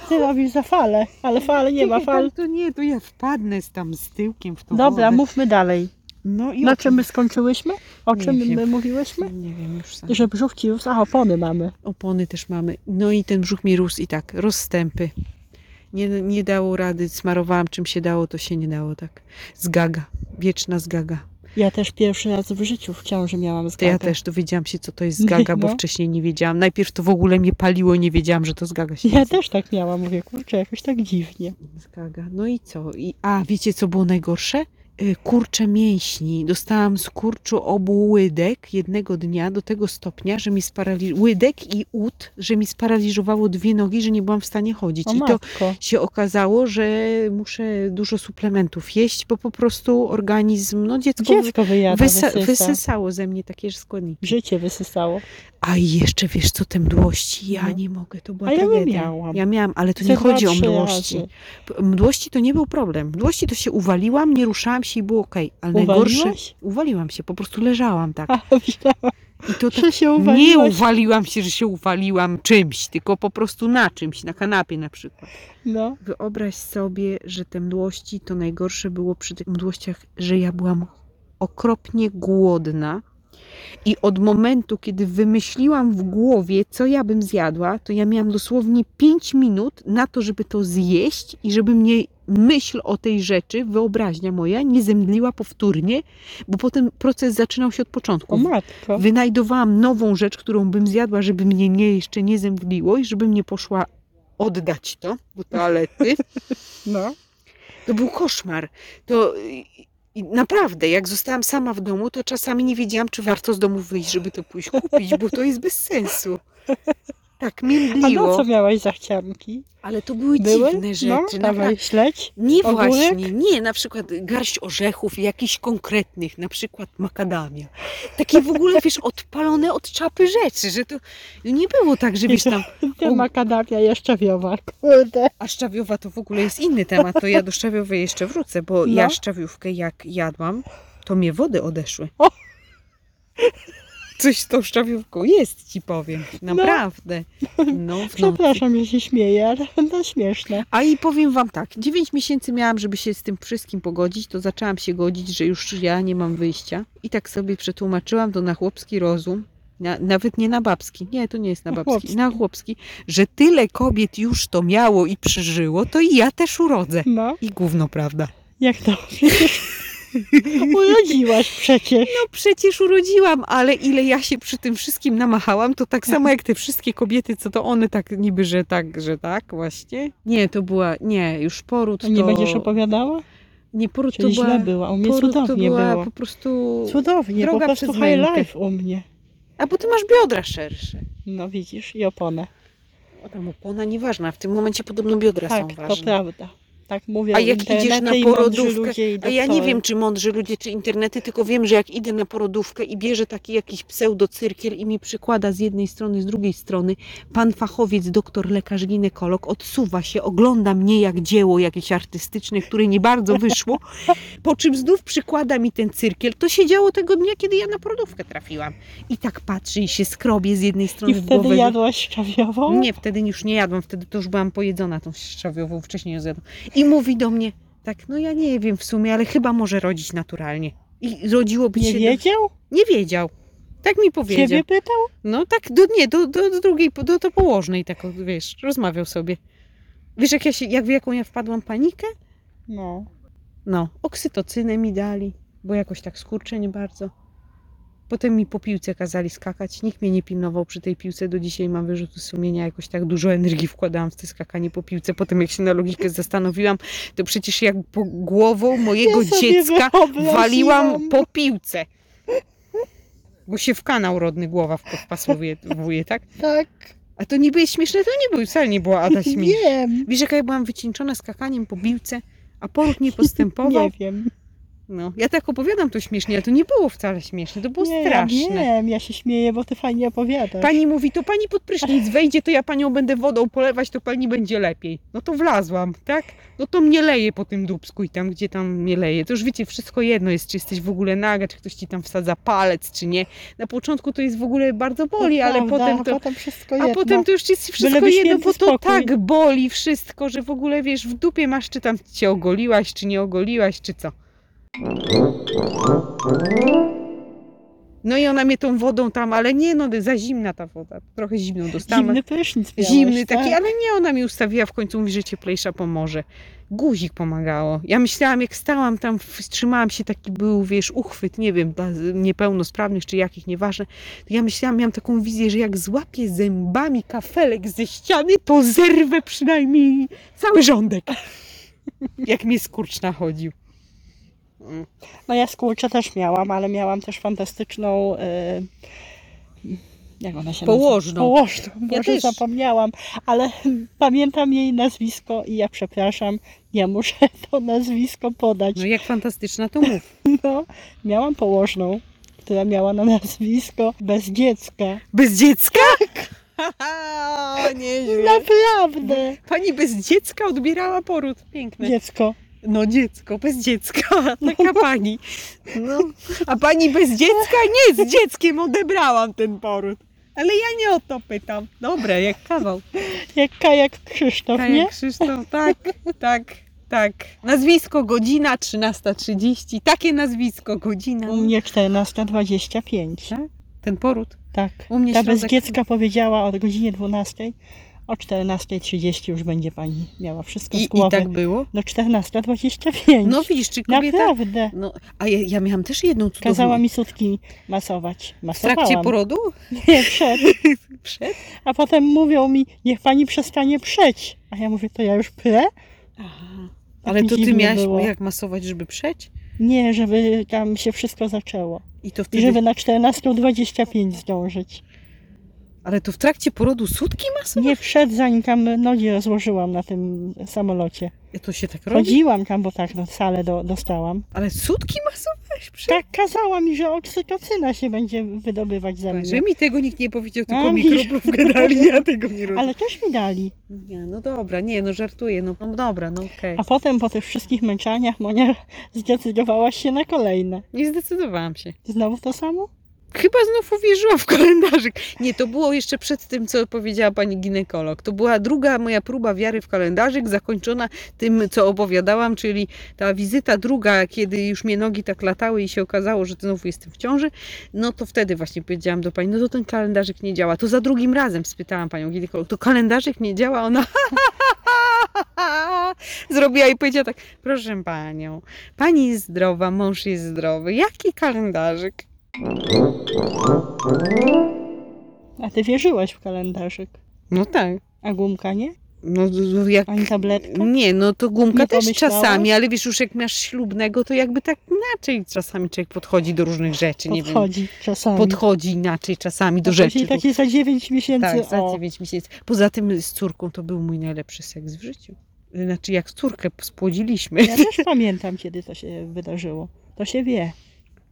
[SPEAKER 1] Ty robisz za falę, ale fale nie ma
[SPEAKER 2] Czekaj, tam
[SPEAKER 1] fal.
[SPEAKER 2] To nie, to ja wpadnę z tam z tyłkiem w tą
[SPEAKER 1] Dobra,
[SPEAKER 2] wodę.
[SPEAKER 1] mówmy dalej.
[SPEAKER 2] No i
[SPEAKER 1] Na
[SPEAKER 2] o
[SPEAKER 1] czym my skończyłyśmy? O
[SPEAKER 2] Nie
[SPEAKER 1] czym
[SPEAKER 2] wiem.
[SPEAKER 1] my mówiłyśmy?
[SPEAKER 2] Nie wiem już sam.
[SPEAKER 1] Że brzuchki już, a opony mamy.
[SPEAKER 2] opony też mamy. No i ten brzuch mi rósł i tak, rozstępy. Nie, nie dało rady, smarowałam czym się dało, to się nie dało tak. Zgaga, wieczna zgaga.
[SPEAKER 1] Ja też pierwszy raz w życiu w ciąży miałam
[SPEAKER 2] To
[SPEAKER 1] zgagę.
[SPEAKER 2] ja też dowiedziałam się, co to jest
[SPEAKER 1] Nie,
[SPEAKER 2] zgaga, bo
[SPEAKER 1] no.
[SPEAKER 2] wcześniej nie wiedziałam. Najpierw to w ogóle mnie paliło, nie wiedziałam, że to zgaga się
[SPEAKER 1] Ja
[SPEAKER 2] nazywa.
[SPEAKER 1] też tak miałam, mówię, kurczę, jakoś tak dziwnie.
[SPEAKER 2] Zgaga. No i co? I, a wiecie, co było najgorsze? Y, Kurcze mięśni. Dostałam z kurczu obu łydek jednego dnia do tego stopnia, że mi sparaliżowało łydek i ud, że mi sparaliżowało dwie nogi, że nie byłam w stanie chodzić.
[SPEAKER 1] O
[SPEAKER 2] I to
[SPEAKER 1] matko.
[SPEAKER 2] się okazało, że muszę dużo suplementów jeść, bo po prostu organizm, no dziecko,
[SPEAKER 1] Dziecko wyjada,
[SPEAKER 2] wysa-
[SPEAKER 1] wysysa.
[SPEAKER 2] wysysało ze mnie takie składniki.
[SPEAKER 1] Życie wysysało.
[SPEAKER 2] A i jeszcze wiesz co, te mdłości, ja
[SPEAKER 1] No.
[SPEAKER 2] nie mogę, to była
[SPEAKER 1] A ja bym
[SPEAKER 2] tragedia.
[SPEAKER 1] miałam.
[SPEAKER 2] Ja miałam, ale to
[SPEAKER 1] Ze
[SPEAKER 2] nie
[SPEAKER 1] dwa,
[SPEAKER 2] chodzi o
[SPEAKER 1] trzy
[SPEAKER 2] mdłości.
[SPEAKER 1] razy.
[SPEAKER 2] P- Mdłości to nie był problem. Mdłości to się uwaliłam, nie ruszałam się i było okej. Ale najgorsze...
[SPEAKER 1] Uwaliłaś?
[SPEAKER 2] Uwaliłam się, po prostu leżałam tak.
[SPEAKER 1] [LAUGHS] A, myślałam,
[SPEAKER 2] I to tak
[SPEAKER 1] że się
[SPEAKER 2] nie
[SPEAKER 1] uwaliłaś.
[SPEAKER 2] uwaliłam się, że się uwaliłam czymś, tylko po prostu na czymś, na kanapie na przykład.
[SPEAKER 1] No.
[SPEAKER 2] Wyobraź sobie, że te mdłości to najgorsze było przy tych mdłościach, że ja byłam okropnie głodna. I od momentu, kiedy wymyśliłam w głowie, co ja bym zjadła, to ja miałam dosłownie 5 minut na to, żeby to zjeść i żeby mnie myśl o tej rzeczy, wyobraźnia moja, nie zemdliła powtórnie, bo potem proces zaczynał się od początku.
[SPEAKER 1] O matko.
[SPEAKER 2] Wynajdowałam nową rzecz, którą bym zjadła, żeby mnie nie, jeszcze nie zemdliło i żebym nie poszła oddać to do
[SPEAKER 1] [LAUGHS]
[SPEAKER 2] toalety.
[SPEAKER 1] No.
[SPEAKER 2] To był koszmar. To y, y, naprawdę, jak zostałam sama w domu, to czasami nie wiedziałam, czy warto z domu wyjść, żeby to pójść kupić, bo to jest bez sensu. Tak,
[SPEAKER 1] A
[SPEAKER 2] międliło.
[SPEAKER 1] na co miałaś zachcianki?
[SPEAKER 2] Ale to były,
[SPEAKER 1] Były?
[SPEAKER 2] dziwne rzeczy.
[SPEAKER 1] No,
[SPEAKER 2] naprawdę.
[SPEAKER 1] dawaj, śledź.
[SPEAKER 2] Nie
[SPEAKER 1] Ogórek?
[SPEAKER 2] właśnie, nie, na przykład garść orzechów jakichś konkretnych, na przykład makadamia. Takie w ogóle, wiesz, odpalone od czapy rzeczy, że to nie było tak, żebyś tam...
[SPEAKER 1] Ten
[SPEAKER 2] U. No.
[SPEAKER 1] makadamia jeszcze wiowa, kurde.
[SPEAKER 2] A szczawiowa to w ogóle jest inny temat, to ja do szczawiowej jeszcze wrócę, bo
[SPEAKER 1] No.
[SPEAKER 2] ja szczawiówkę jak jadłam, to mnie wody odeszły.
[SPEAKER 1] O!
[SPEAKER 2] Coś z tą szczawiówką jest, ci powiem, naprawdę. No, w nocy.
[SPEAKER 1] Przepraszam, że się śmieję, ale [LAUGHS] no śmieszne.
[SPEAKER 2] A i powiem wam tak, 9 miesięcy miałam, żeby się z tym wszystkim pogodzić, to zaczęłam się godzić, że już ja nie mam wyjścia. I tak sobie przetłumaczyłam to na chłopski rozum, na, nawet nie na babski, nie, to nie jest na
[SPEAKER 1] Na
[SPEAKER 2] babski,
[SPEAKER 1] chłopski.
[SPEAKER 2] na chłopski, że tyle kobiet już to miało i przeżyło, to i ja też urodzę.
[SPEAKER 1] No,
[SPEAKER 2] I gówno, prawda?
[SPEAKER 1] jak to? [LAUGHS] Urodziłaś przecież.
[SPEAKER 2] No przecież urodziłam, ale ile ja się przy tym wszystkim namachałam, to tak samo jak te wszystkie kobiety, co to one tak niby, że tak, że tak właśnie. Nie, to była, nie, już poród
[SPEAKER 1] A nie
[SPEAKER 2] No, to...
[SPEAKER 1] będziesz opowiadała?
[SPEAKER 2] Nie, poród
[SPEAKER 1] Czyli
[SPEAKER 2] to była...
[SPEAKER 1] źle była, u mnie
[SPEAKER 2] Poród
[SPEAKER 1] cudownie
[SPEAKER 2] to była
[SPEAKER 1] było.
[SPEAKER 2] po prostu...
[SPEAKER 1] Cudownie, po
[SPEAKER 2] droga
[SPEAKER 1] prostu
[SPEAKER 2] przez
[SPEAKER 1] high
[SPEAKER 2] mękę.
[SPEAKER 1] life u mnie.
[SPEAKER 2] A bo ty masz biodra szersze.
[SPEAKER 1] No widzisz, i oponę.
[SPEAKER 2] O tam opona nieważna, w tym momencie podobno biodra
[SPEAKER 1] Tak,
[SPEAKER 2] są
[SPEAKER 1] to
[SPEAKER 2] ważne.
[SPEAKER 1] prawda. Tak mówią
[SPEAKER 2] A jak
[SPEAKER 1] internety
[SPEAKER 2] idziesz na
[SPEAKER 1] i mądrzy
[SPEAKER 2] porodówkę,
[SPEAKER 1] ludzie i
[SPEAKER 2] A ja nie
[SPEAKER 1] doktory.
[SPEAKER 2] wiem, czy mądrzy ludzie, czy internety, tylko wiem, że jak idę na porodówkę i bierze taki jakiś pseudocyrkiel i mi przykłada z jednej strony, z drugiej strony, pan fachowiec, doktor, lekarz, ginekolog odsuwa się, ogląda mnie jak dzieło jakieś artystyczne, które nie bardzo
[SPEAKER 1] [LAUGHS]
[SPEAKER 2] wyszło, po czym znów przykłada mi ten cyrkiel. To się działo tego dnia, kiedy ja na porodówkę trafiłam. I tak patrzy i się skrobie z jednej strony
[SPEAKER 1] I
[SPEAKER 2] w
[SPEAKER 1] wtedy
[SPEAKER 2] głowę.
[SPEAKER 1] jadłaś szczawiową?
[SPEAKER 2] Nie, wtedy już nie jadłam, wtedy to już byłam pojedzona tą szczawiową, wcześniej ją zjadłam. I mówi do mnie, tak, no ja nie wiem w sumie, ale chyba może rodzić naturalnie. I rodziłoby
[SPEAKER 1] Nie
[SPEAKER 2] się...
[SPEAKER 1] wiedział?
[SPEAKER 2] Do... Nie wiedział. Tak mi powiedział.
[SPEAKER 1] Ciebie pytał?
[SPEAKER 2] No tak, do, nie, do, do, do drugiej, do, do położnej tak, o, wiesz, rozmawiał sobie. Wiesz, jak ja się, jak w jaką ja wpadłam w panikę?
[SPEAKER 1] No.
[SPEAKER 2] No, oksytocynę mi dali, bo jakoś tak skurcze nie bardzo. Potem mi po piłce kazali skakać. Nikt mnie nie pilnował przy tej piłce. Do dzisiaj mam wyrzuty sumienia. Jakoś tak dużo energii wkładałam w te skakanie po piłce. Potem jak się na logikę zastanowiłam, to przecież jak po głową mojego
[SPEAKER 1] Ja sobie
[SPEAKER 2] dziecka
[SPEAKER 1] wyobraziłam.
[SPEAKER 2] waliłam po piłce. Bo się w kanał rodny głowa wpasowuje, tak?
[SPEAKER 1] Tak.
[SPEAKER 2] A to niby jest śmieszne, to nie było, wcale nie była Ada śmieszna.
[SPEAKER 1] Wiem.
[SPEAKER 2] Wiesz, jaka ja byłam wycieńczona skakaniem po piłce, a poród nie
[SPEAKER 1] Nie
[SPEAKER 2] postępował.
[SPEAKER 1] wiem.
[SPEAKER 2] No, ja tak opowiadam to śmiesznie, ale to nie było wcale śmieszne, to było
[SPEAKER 1] nie, Ja
[SPEAKER 2] straszne.
[SPEAKER 1] wiem, ja się śmieję, bo ty fajnie opowiadasz.
[SPEAKER 2] Pani mówi, to pani pod prysznic wejdzie, to ja panią będę wodą polewać, to pani będzie lepiej. No to wlazłam, tak? No to mnie leje po tym dubsku i tam, gdzie tam mnie leje. To już wiecie, wszystko jedno jest, czy jesteś w ogóle naga, czy ktoś ci tam wsadza palec, czy nie. Na początku to jest w ogóle bardzo
[SPEAKER 1] To
[SPEAKER 2] boli, ale
[SPEAKER 1] prawda,
[SPEAKER 2] potem
[SPEAKER 1] A
[SPEAKER 2] to...
[SPEAKER 1] potem wszystko
[SPEAKER 2] A
[SPEAKER 1] jedno.
[SPEAKER 2] potem to już jest wszystko
[SPEAKER 1] Byleby
[SPEAKER 2] jedno,
[SPEAKER 1] święty
[SPEAKER 2] bo to
[SPEAKER 1] spokój.
[SPEAKER 2] tak boli wszystko, że w ogóle wiesz, w dupie masz, czy tam cię ogoliłaś, czy nie ogoliłaś, czy co. No i ona mnie tą wodą tam, ale nie, no za zimna ta woda, trochę zimną dostałam.
[SPEAKER 1] Zimny prysznic miałeś,
[SPEAKER 2] Zimny
[SPEAKER 1] tak?
[SPEAKER 2] taki, ale nie, ona mi ustawiła w końcu, mówi, że cieplejsza pomoże. Guzik pomagało. Ja myślałam, jak stałam tam, wstrzymałam się, taki był, wiesz, uchwyt, nie wiem, dla z- niepełnosprawnych czy jakich, nieważne. To ja myślałam, miałam taką wizję, że jak złapię zębami kafelek ze ściany, to zerwę przynajmniej cały rządek. [LAUGHS] jak mnie skurcz nachodził. Mm.
[SPEAKER 1] No ja skurcze też miałam, ale miałam też fantastyczną... E... Jak ona się
[SPEAKER 2] Położną.
[SPEAKER 1] nazywa? Położną.
[SPEAKER 2] Ja
[SPEAKER 1] Ja też
[SPEAKER 2] też.
[SPEAKER 1] zapomniałam, ale pamiętam jej nazwisko i ja przepraszam, ja muszę [LAUGHS] to nazwisko podać.
[SPEAKER 2] No jak fantastyczna to mów.
[SPEAKER 1] No, miałam położną, która miała na nazwisko bez dziecka.
[SPEAKER 2] Bez dziecka? [LAUGHS] Tak. Nieźle.
[SPEAKER 1] Naprawdę!
[SPEAKER 2] Pani bez dziecka odbierała poród. Piękne.
[SPEAKER 1] Dziecko.
[SPEAKER 2] No dziecko, bez dziecka, [LAUGHS] taka pani. No. A pani bez dziecka? Nie, z dzieckiem odebrałam ten poród. Ale ja nie o to pytam. Dobra, jak kawał.
[SPEAKER 1] Jak kajak Krzysztof,
[SPEAKER 2] Tak,
[SPEAKER 1] nie?
[SPEAKER 2] jak Krzysztof, tak, tak, tak. Nazwisko, godzina 13.30. Takie nazwisko, godzina.
[SPEAKER 1] U mnie 14.25.
[SPEAKER 2] Tak? Ten poród.
[SPEAKER 1] Tak.
[SPEAKER 2] U mnie
[SPEAKER 1] Ta bez
[SPEAKER 2] środek-
[SPEAKER 1] dziecka powiedziała o godzinie 12. O 14.30 już będzie pani miała wszystko
[SPEAKER 2] I,
[SPEAKER 1] z
[SPEAKER 2] i
[SPEAKER 1] głowy.
[SPEAKER 2] tak było?
[SPEAKER 1] No 14.25.
[SPEAKER 2] No widzisz, czy kobieta...
[SPEAKER 1] Naprawdę.
[SPEAKER 2] No, a ja, ja miałam też jedną cudowną...
[SPEAKER 1] tak? Kazała mi sutki masować.
[SPEAKER 2] W trakcie
[SPEAKER 1] Masowałam.
[SPEAKER 2] porodu?
[SPEAKER 1] Nie, przed.
[SPEAKER 2] Przed?
[SPEAKER 1] A potem mówią mi, niech pani przestanie przeć. A ja mówię, to ja już prę?
[SPEAKER 2] Aha.
[SPEAKER 1] Tak
[SPEAKER 2] Ale
[SPEAKER 1] mi
[SPEAKER 2] to ty
[SPEAKER 1] dziwnie
[SPEAKER 2] miałaś
[SPEAKER 1] było.
[SPEAKER 2] jak masować, żeby przeć?
[SPEAKER 1] Nie, żeby tam się wszystko zaczęło.
[SPEAKER 2] I to
[SPEAKER 1] I
[SPEAKER 2] wtedy...
[SPEAKER 1] żeby na 14.25 zdążyć.
[SPEAKER 2] Ale to w trakcie porodu sutki masowe?
[SPEAKER 1] Nie przed, zanim tam nogi rozłożyłam na tym samolocie.
[SPEAKER 2] Ja to się tak robi?
[SPEAKER 1] Chodziłam tam, bo tak no, salę do, dostałam.
[SPEAKER 2] Ale sutki masowe? Prze-
[SPEAKER 1] Tak kazała mi, że oksytocyna się będzie wydobywać ze mnie.
[SPEAKER 2] Że mi tego nikt nie powiedział, tylko
[SPEAKER 1] A,
[SPEAKER 2] mi
[SPEAKER 1] widzisz. [LAUGHS]
[SPEAKER 2] kroplów gadali, ja tego nie rozumiem.
[SPEAKER 1] Ale też mi dali.
[SPEAKER 2] Nie, no dobra, nie, no żartuję, no, no dobra, no okej.
[SPEAKER 1] A potem po tych wszystkich męczaniach Monia [LAUGHS] zdecydowałaś się na kolejne.
[SPEAKER 2] Nie zdecydowałam się.
[SPEAKER 1] Znowu to samo?
[SPEAKER 2] Chyba znów uwierzyłam w kalendarzyk. Nie, to było jeszcze przed tym, co powiedziała pani ginekolog. To była druga moja próba wiary w kalendarzyk, zakończona tym, co opowiadałam, czyli ta wizyta druga, kiedy już mnie nogi tak latały i się okazało, że znowu jestem w ciąży. No to wtedy właśnie powiedziałam do pani, no to ten kalendarzyk nie działa. To za drugim razem spytałam panią ginekolog, to kalendarzyk nie działa? Ona [LAUGHS] zrobiła i powiedziała tak, proszę panią, pani jest zdrowa, mąż jest zdrowy, jaki kalendarzyk?
[SPEAKER 1] A ty wierzyłaś w kalendarzyk.
[SPEAKER 2] No tak.
[SPEAKER 1] A gumka nie?
[SPEAKER 2] No, d- d- jak...
[SPEAKER 1] Ani tabletka?
[SPEAKER 2] Nie, no to gumka
[SPEAKER 1] tak Nie
[SPEAKER 2] też
[SPEAKER 1] pomyślałaś?
[SPEAKER 2] czasami, ale wiesz, już jak masz ślubnego, to jakby tak inaczej czasami człowiek podchodzi do różnych rzeczy, nie wiem.
[SPEAKER 1] Podchodzi czasami.
[SPEAKER 2] Podchodzi inaczej czasami do
[SPEAKER 1] A
[SPEAKER 2] rzeczy.
[SPEAKER 1] Później takie za 9 miesięcy.
[SPEAKER 2] tak, za
[SPEAKER 1] o,
[SPEAKER 2] 9 miesięcy. Poza tym z córką to był mój najlepszy seks w życiu. Znaczy, jak córkę spłodziliśmy, [LAUGHS]
[SPEAKER 1] ja też pamiętam, kiedy to się wydarzyło. To się wie,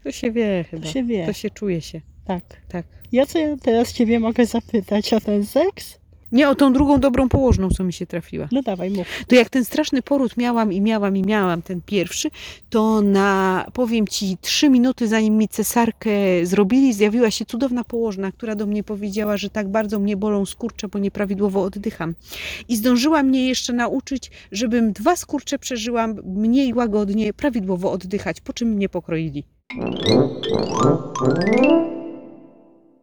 [SPEAKER 2] to się wie
[SPEAKER 1] to
[SPEAKER 2] chyba.
[SPEAKER 1] się wie.
[SPEAKER 2] To się czuje się,
[SPEAKER 1] Tak.
[SPEAKER 2] tak.
[SPEAKER 1] Ja co ja teraz ciebie mogę zapytać o ten seks?
[SPEAKER 2] Nie, o tą drugą dobrą położną, co mi się trafiła.
[SPEAKER 1] No dawaj, mów.
[SPEAKER 2] to jak ten straszny poród miałam i miałam i miałam ten pierwszy, to na, powiem ci, trzy minuty zanim mi cesarkę zrobili, zjawiła się cudowna położna, która do mnie powiedziała, że tak bardzo mnie bolą skurcze, bo nieprawidłowo oddycham. I zdążyła mnie jeszcze nauczyć, żebym dwa skurcze przeżyłam mniej łagodnie, prawidłowo oddychać, po czym mnie pokroili.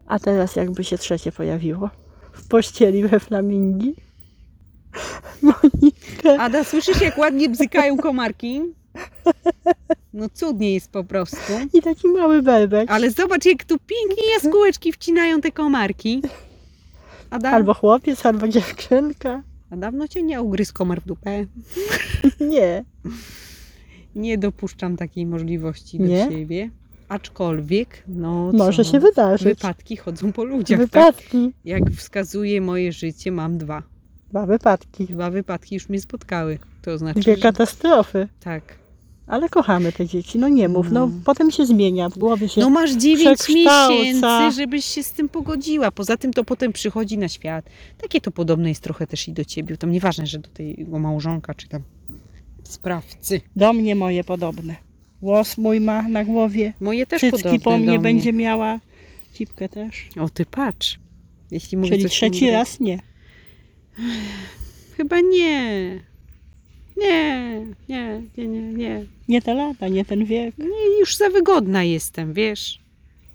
[SPEAKER 1] A teraz jakby się trzecie pojawiło? W pościeli we flamingi? [LAUGHS] Monika.
[SPEAKER 2] Ada, słyszysz jak ładnie bzykają komarki? No cudnie jest po prostu.
[SPEAKER 1] I taki mały bebek.
[SPEAKER 2] Ale zobacz, jak tu pięknie jaskółeczki wcinają te komarki. A, da-
[SPEAKER 1] Albo chłopiec, albo dziewczynka.
[SPEAKER 2] a dawno cię nie ugryzł komar w dupę.
[SPEAKER 1] Nie.
[SPEAKER 2] Nie dopuszczam takiej możliwości do
[SPEAKER 1] Nie?
[SPEAKER 2] siebie. Aczkolwiek, no
[SPEAKER 1] Może
[SPEAKER 2] co,
[SPEAKER 1] się wydarzyć.
[SPEAKER 2] Wypadki chodzą po ludziach, tak?
[SPEAKER 1] Wypadki.
[SPEAKER 2] Jak wskazuje moje życie, mam dwa.
[SPEAKER 1] Dwa wypadki.
[SPEAKER 2] Dwa wypadki już mnie spotkały. To znaczy,
[SPEAKER 1] Dwie
[SPEAKER 2] że...
[SPEAKER 1] katastrofy.
[SPEAKER 2] tak.
[SPEAKER 1] Ale kochamy te dzieci. No nie mów. No
[SPEAKER 2] No.
[SPEAKER 1] potem się zmienia. W głowie się...
[SPEAKER 2] No masz dziewięć
[SPEAKER 1] przekształca.
[SPEAKER 2] miesięcy, żebyś się z tym pogodziła. Poza tym to potem przychodzi na świat. Takie to podobne jest trochę też i do ciebie. Tam nieważne, że do tego małżonka czy tam sprawcy.
[SPEAKER 1] Do mnie moje podobne. Włos mój ma na głowie.
[SPEAKER 2] Moje też
[SPEAKER 1] Cycki
[SPEAKER 2] podobne
[SPEAKER 1] po mnie
[SPEAKER 2] do
[SPEAKER 1] będzie miała. Cipkę też.
[SPEAKER 2] O ty patrz. Jeśli mówię
[SPEAKER 1] Czyli
[SPEAKER 2] coś
[SPEAKER 1] trzeci
[SPEAKER 2] mądrego.
[SPEAKER 1] raz nie.
[SPEAKER 2] Chyba nie. Nie, nie, nie, nie, nie.
[SPEAKER 1] Nie te lata, nie ten wiek.
[SPEAKER 2] nie już za wygodna jestem, wiesz.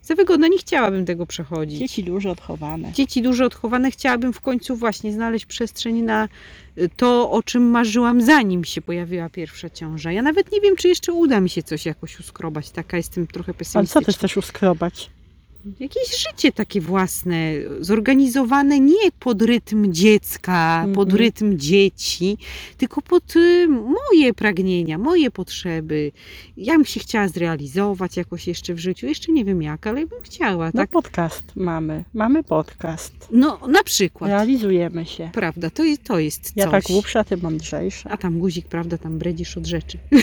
[SPEAKER 2] Za wygodna, nie chciałabym tego przechodzić.
[SPEAKER 1] Dzieci dużo odchowane.
[SPEAKER 2] dzieci dużo odchowane, chciałabym w końcu właśnie znaleźć przestrzeń na y, to, o czym marzyłam, zanim się pojawiła pierwsza ciąża. Ja nawet nie wiem, czy jeszcze uda mi się coś jakoś uskrobać. Taka jestem trochę
[SPEAKER 1] Ale co ty
[SPEAKER 2] pesymistyczna.
[SPEAKER 1] chcesz uskrobać?
[SPEAKER 2] Jakieś życie takie własne, zorganizowane nie pod rytm dziecka,
[SPEAKER 1] Mhm.
[SPEAKER 2] pod rytm dzieci, tylko pod y, moje pragnienia, moje potrzeby. Ja bym się chciała zrealizować jakoś jeszcze w życiu. Jeszcze nie wiem jak, ale bym chciała,
[SPEAKER 1] No
[SPEAKER 2] tak?
[SPEAKER 1] podcast mamy. Mamy podcast.
[SPEAKER 2] No, na przykład.
[SPEAKER 1] Realizujemy się.
[SPEAKER 2] Prawda, to, je- to jest
[SPEAKER 1] Ja
[SPEAKER 2] coś.
[SPEAKER 1] tak głupsza, ty mądrzejsza.
[SPEAKER 2] A tam guzik, prawda, tam bredzisz od rzeczy.
[SPEAKER 1] Tak,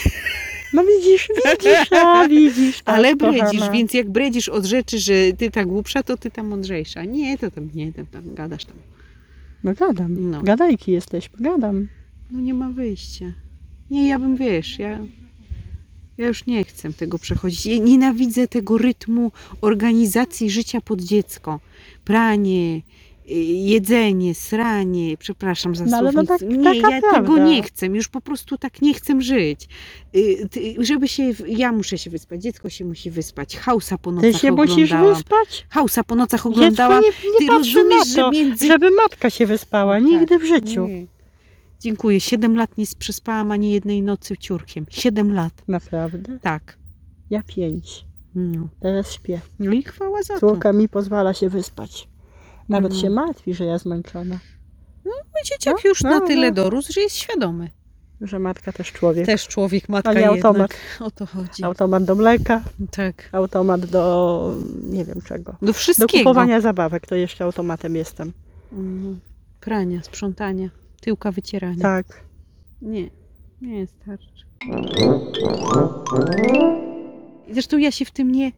[SPEAKER 1] No widzisz,
[SPEAKER 2] [LAUGHS]
[SPEAKER 1] widzisz, a widzisz. tak,
[SPEAKER 2] Ale
[SPEAKER 1] kochana.
[SPEAKER 2] bredzisz, więc jak bredzisz od rzeczy, że ty ta głupsza, to ty tam mądrzejsza. Nie, to tam nie, tam, tam gadasz tam.
[SPEAKER 1] No gadam.
[SPEAKER 2] No.
[SPEAKER 1] Gadajki jesteśmy, gadam.
[SPEAKER 2] No nie ma wyjścia. Nie, ja bym, wiesz, ja, ja już nie chcę tego przechodzić. Ja nienawidzę tego rytmu organizacji życia pod dziecko. Pranie, y, jedzenie, sranie, przepraszam za
[SPEAKER 1] No ale no
[SPEAKER 2] słownictwo.
[SPEAKER 1] tak-
[SPEAKER 2] nie,
[SPEAKER 1] taka
[SPEAKER 2] ja tego
[SPEAKER 1] prawda.
[SPEAKER 2] nie chcę, już po prostu tak nie chcę żyć. Y, ty- Żeby się, ja muszę się wyspać, dziecko się musi wyspać. Hausa po nocach
[SPEAKER 1] Ty się musisz
[SPEAKER 2] No tak oglądałam.
[SPEAKER 1] wyspać?
[SPEAKER 2] Hausa po nocach
[SPEAKER 1] Dziecko
[SPEAKER 2] oglądałam.
[SPEAKER 1] nie,
[SPEAKER 2] Ty
[SPEAKER 1] nie patrzy na
[SPEAKER 2] rozumiesz, że
[SPEAKER 1] to,
[SPEAKER 2] między
[SPEAKER 1] żeby matka się wyspała.
[SPEAKER 2] No tak.
[SPEAKER 1] Nigdy w życiu.
[SPEAKER 2] nie. Dziękuję. Siedem lat nie przespałam ani jednej nocy ciurkiem. Siedem lat.
[SPEAKER 1] Naprawdę?
[SPEAKER 2] Tak.
[SPEAKER 1] Ja pięć.
[SPEAKER 2] No.
[SPEAKER 1] Teraz śpię.
[SPEAKER 2] no i chwała za to.
[SPEAKER 1] Córka mi pozwala się wyspać. Nawet
[SPEAKER 2] Mhm.
[SPEAKER 1] się martwi, że ja zmęczona.
[SPEAKER 2] Mój dzieciak już
[SPEAKER 1] no,
[SPEAKER 2] na
[SPEAKER 1] no.
[SPEAKER 2] tyle dorósł, że jest świadomy.
[SPEAKER 1] że matka też człowiek.
[SPEAKER 2] Też człowiek, matka
[SPEAKER 1] A nie automat.
[SPEAKER 2] jednak. O to chodzi.
[SPEAKER 1] Automat do mleka,
[SPEAKER 2] Tak.
[SPEAKER 1] automat do nie wiem czego.
[SPEAKER 2] Do
[SPEAKER 1] Do
[SPEAKER 2] wszystkiego.
[SPEAKER 1] kupowania zabawek to jeszcze automatem jestem.
[SPEAKER 2] Mhm. Prania, sprzątania, tyłka wycierania.
[SPEAKER 1] Tak.
[SPEAKER 2] Nie, nie starczy. Zresztą ja się w tym nie